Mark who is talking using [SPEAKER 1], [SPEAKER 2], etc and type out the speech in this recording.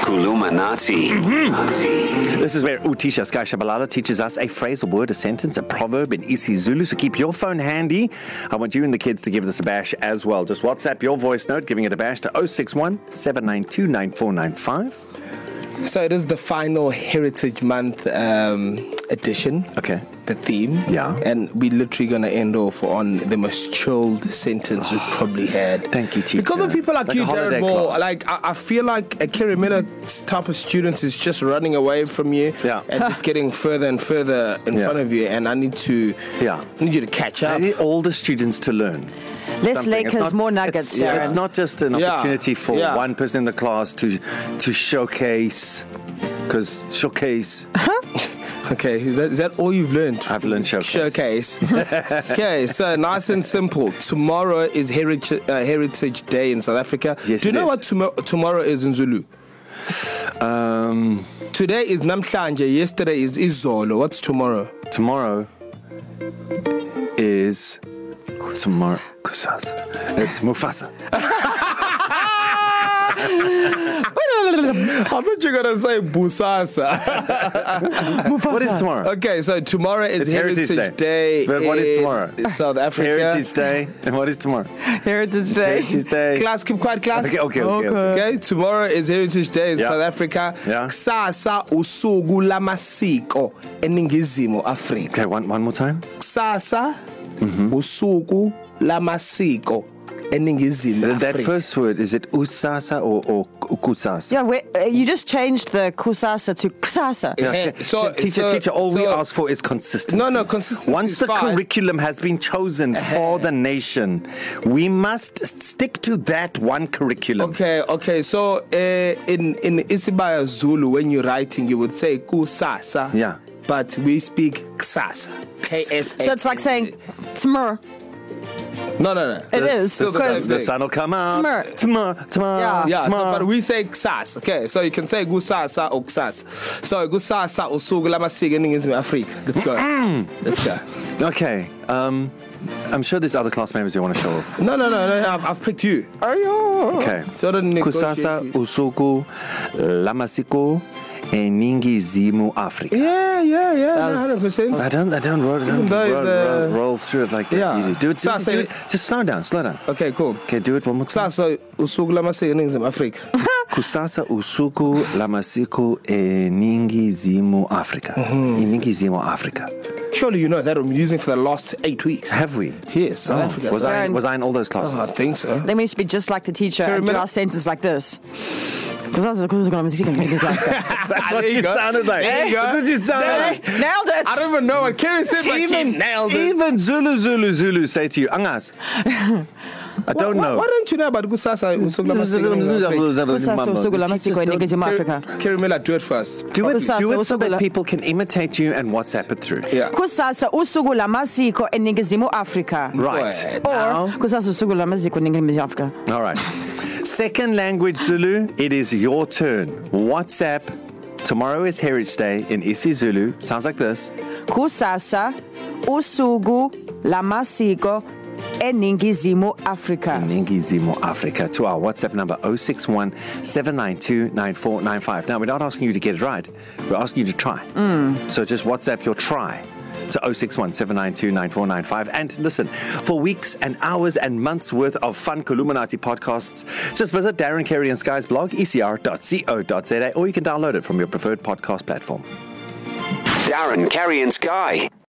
[SPEAKER 1] Kulumanati. Nazi.
[SPEAKER 2] This is where Utisha Sky Shabalala teaches us a phrase, a word, a sentence, a proverb in Isi Zulu. So keep your phone handy. I want you and the kids to give this a bash as well. Just WhatsApp your voice note, giving it a bash to 061 792 9495.
[SPEAKER 3] So it is the final Heritage Month um, edition.
[SPEAKER 2] Okay.
[SPEAKER 3] The theme.
[SPEAKER 2] Yeah.
[SPEAKER 3] And we literally gonna end off on the most chilled sentence we probably had.
[SPEAKER 2] Thank you, teacher.
[SPEAKER 3] Because of people like,
[SPEAKER 2] Like
[SPEAKER 3] you,
[SPEAKER 2] a holiday
[SPEAKER 3] Jared Moore,
[SPEAKER 2] class.
[SPEAKER 3] like I, I feel like a Kirimela type of students is just running away from you.
[SPEAKER 2] Yeah.
[SPEAKER 3] And just getting further and further in
[SPEAKER 2] Yeah.
[SPEAKER 3] front of you. And I need to
[SPEAKER 2] Yeah.
[SPEAKER 3] I need you to catch
[SPEAKER 2] I
[SPEAKER 3] up.
[SPEAKER 2] need all the students to learn.
[SPEAKER 4] Less
[SPEAKER 2] something. It's
[SPEAKER 4] Lakers,
[SPEAKER 2] not-
[SPEAKER 4] more Nuggets,
[SPEAKER 2] It's, yeah,
[SPEAKER 4] Darren.
[SPEAKER 2] it's not just an
[SPEAKER 3] Yeah.
[SPEAKER 2] opportunity for
[SPEAKER 3] Yeah.
[SPEAKER 2] one person in the class to to showcase, because showcase.
[SPEAKER 3] Okay, is that, is that all you've learned?
[SPEAKER 2] I've learned showcase.
[SPEAKER 3] Showcase. okay, so nice and simple. Tomorrow is Heritage, uh, Heritage Day in South Africa.
[SPEAKER 2] Yes,
[SPEAKER 3] Do you
[SPEAKER 2] it
[SPEAKER 3] know
[SPEAKER 2] is.
[SPEAKER 3] what tomo- tomorrow is in Zulu?
[SPEAKER 2] Um,
[SPEAKER 3] Today is Namhlanje, yesterday is Izolo. What's tomorrow?
[SPEAKER 2] tomorrow is tomorrow. Kusasa. It's Mufasa.
[SPEAKER 3] Uh, I thought you were going to say Busasa.
[SPEAKER 2] What is tomorrow?
[SPEAKER 3] okay, so tomorrow is
[SPEAKER 2] It's Heritage Day.
[SPEAKER 3] But
[SPEAKER 2] But what is tomorrow?
[SPEAKER 3] South Africa.
[SPEAKER 2] Heritage Day. And what is tomorrow?
[SPEAKER 4] Heritage Day.
[SPEAKER 2] Heritage Day.
[SPEAKER 3] Class, keep quiet, class.
[SPEAKER 2] Okay, okay, okay, okay.
[SPEAKER 3] Okay, tomorrow is Heritage Day in
[SPEAKER 2] Yeah.
[SPEAKER 3] South Africa.
[SPEAKER 2] Yeah.
[SPEAKER 3] Kusasa usuku lamasiko eningizimu Afrika.
[SPEAKER 2] Okay, one, one more time.
[SPEAKER 3] Kusasa
[SPEAKER 2] Mm-hmm.
[SPEAKER 3] usuku lamasiko eningizimu
[SPEAKER 2] That, that
[SPEAKER 3] Afrika.
[SPEAKER 2] first word, is it usasa or, or kusasa?
[SPEAKER 4] Yeah, we- uh, you just changed the kusasa to kusasa.
[SPEAKER 3] Hey, Eh, so-
[SPEAKER 2] teacher,
[SPEAKER 3] so-
[SPEAKER 2] teacher, all we
[SPEAKER 3] so-
[SPEAKER 2] ask for is consistency.
[SPEAKER 3] No, no, consistency
[SPEAKER 2] Once
[SPEAKER 3] is
[SPEAKER 2] the
[SPEAKER 3] fine. Eh.
[SPEAKER 2] curriculum has been chosen for the nation, we must stick to that one curriculum.
[SPEAKER 3] Okay, okay. So uh, in in Isibaya Zulu, when you're writing, you would say kusasa.
[SPEAKER 2] Yeah.
[SPEAKER 3] But we speak ksasa. K-S-A.
[SPEAKER 4] So it's like saying tmr.
[SPEAKER 3] No, no, no.
[SPEAKER 4] It
[SPEAKER 3] It's
[SPEAKER 4] is,
[SPEAKER 3] still the
[SPEAKER 4] because-
[SPEAKER 3] same
[SPEAKER 2] The
[SPEAKER 3] thing.
[SPEAKER 2] sun will come out.
[SPEAKER 4] Smart.
[SPEAKER 2] Tomorrow, tomorrow,
[SPEAKER 4] Yeah.
[SPEAKER 3] Yeah, so,
[SPEAKER 2] tomorrow.
[SPEAKER 3] but we say ksasa. Okay, so you can say kusasa or ksasa. So kusasa usuku lamasiko eningizimu Afrika. Let's go.
[SPEAKER 2] Mm.
[SPEAKER 3] Let's go.
[SPEAKER 2] Okay. Um, I'm sure there's other class members who want to show off.
[SPEAKER 3] No, no, no, no. I've, I've picked you.
[SPEAKER 2] Okay.
[SPEAKER 3] Oh, So don't negotiate
[SPEAKER 2] Kusasa
[SPEAKER 3] with-
[SPEAKER 2] usuku lamasiko eningizimu Africa.
[SPEAKER 3] Yeah, yeah, yeah.
[SPEAKER 4] That was-
[SPEAKER 3] 100%.
[SPEAKER 2] I don't, I don't, roll, I don't
[SPEAKER 3] though
[SPEAKER 2] roll,
[SPEAKER 3] the-
[SPEAKER 2] roll, roll through it like that.
[SPEAKER 3] Yeah.
[SPEAKER 2] Yeah. Do it, do it,
[SPEAKER 3] Kusasa-
[SPEAKER 2] do it. Just slow down, slow down.
[SPEAKER 3] Okay, cool.
[SPEAKER 2] Okay, do it one more time.
[SPEAKER 3] Kusasa usuku lamasiko eningizimu Afrika.
[SPEAKER 2] Kusasa usuku lamasiko eningizimu Africa. Mm-hmm. Eningizimu Africa.
[SPEAKER 3] Surely you know that I'm using for the last eight weeks.
[SPEAKER 2] Have we?
[SPEAKER 3] Yes, South
[SPEAKER 2] Oh,
[SPEAKER 3] Africa.
[SPEAKER 2] was, I,
[SPEAKER 4] Darren.
[SPEAKER 2] was I in all those classes?
[SPEAKER 3] Oh, I think so.
[SPEAKER 4] Then we used to be just like the teacher and do
[SPEAKER 3] Pyramid-
[SPEAKER 4] our sentence like this. Kusasa, kusasa, kusasa, kusasa, kusasa.
[SPEAKER 2] That's
[SPEAKER 3] There you go. There you go.
[SPEAKER 2] That's what you sounded
[SPEAKER 4] Eh,
[SPEAKER 2] like.
[SPEAKER 4] Nailed it.
[SPEAKER 3] I don't even know what Kerry said, but she nailed it.
[SPEAKER 2] even Zulu Zulu Zulu say to you, Angas. I don't
[SPEAKER 3] why,
[SPEAKER 2] know.
[SPEAKER 3] Why don't you know about Kusasa usuku lamasiko?
[SPEAKER 4] Kusasa, usuku lamasiko eningizimu Africa.
[SPEAKER 3] Kerry Miller, do it first.
[SPEAKER 2] Do it,
[SPEAKER 4] Kusasa,
[SPEAKER 2] do it so
[SPEAKER 4] usuku la-
[SPEAKER 2] that people can imitate you and WhatsApp it through.
[SPEAKER 3] Yeah.
[SPEAKER 4] Kusasa usuku lamasiko eningizimu Afrika.
[SPEAKER 2] Right.
[SPEAKER 3] Right.
[SPEAKER 4] Or
[SPEAKER 2] Now,
[SPEAKER 4] kusasa usuku lamasiko eningizimu Afrika.
[SPEAKER 2] all right. Second language Zulu, it is your turn. WhatsApp. Tomorrow is Heritage Day in Isi Zulu. Sounds like this.
[SPEAKER 4] Kusasa usuku lamasiko eningizimu Afrika.
[SPEAKER 2] Ningizimo Africa to our WhatsApp number 061 792 9495. Now, we're not asking you to get it right, we're asking you to try. Mm. So just WhatsApp your try to 061 792 9495. And listen, for weeks and hours and months worth of fun Columinati podcasts, just visit Darren Carey and Sky's blog, E ecr.co.za, or you can download it from your preferred podcast platform.
[SPEAKER 1] Darren, Carrie, and Sky.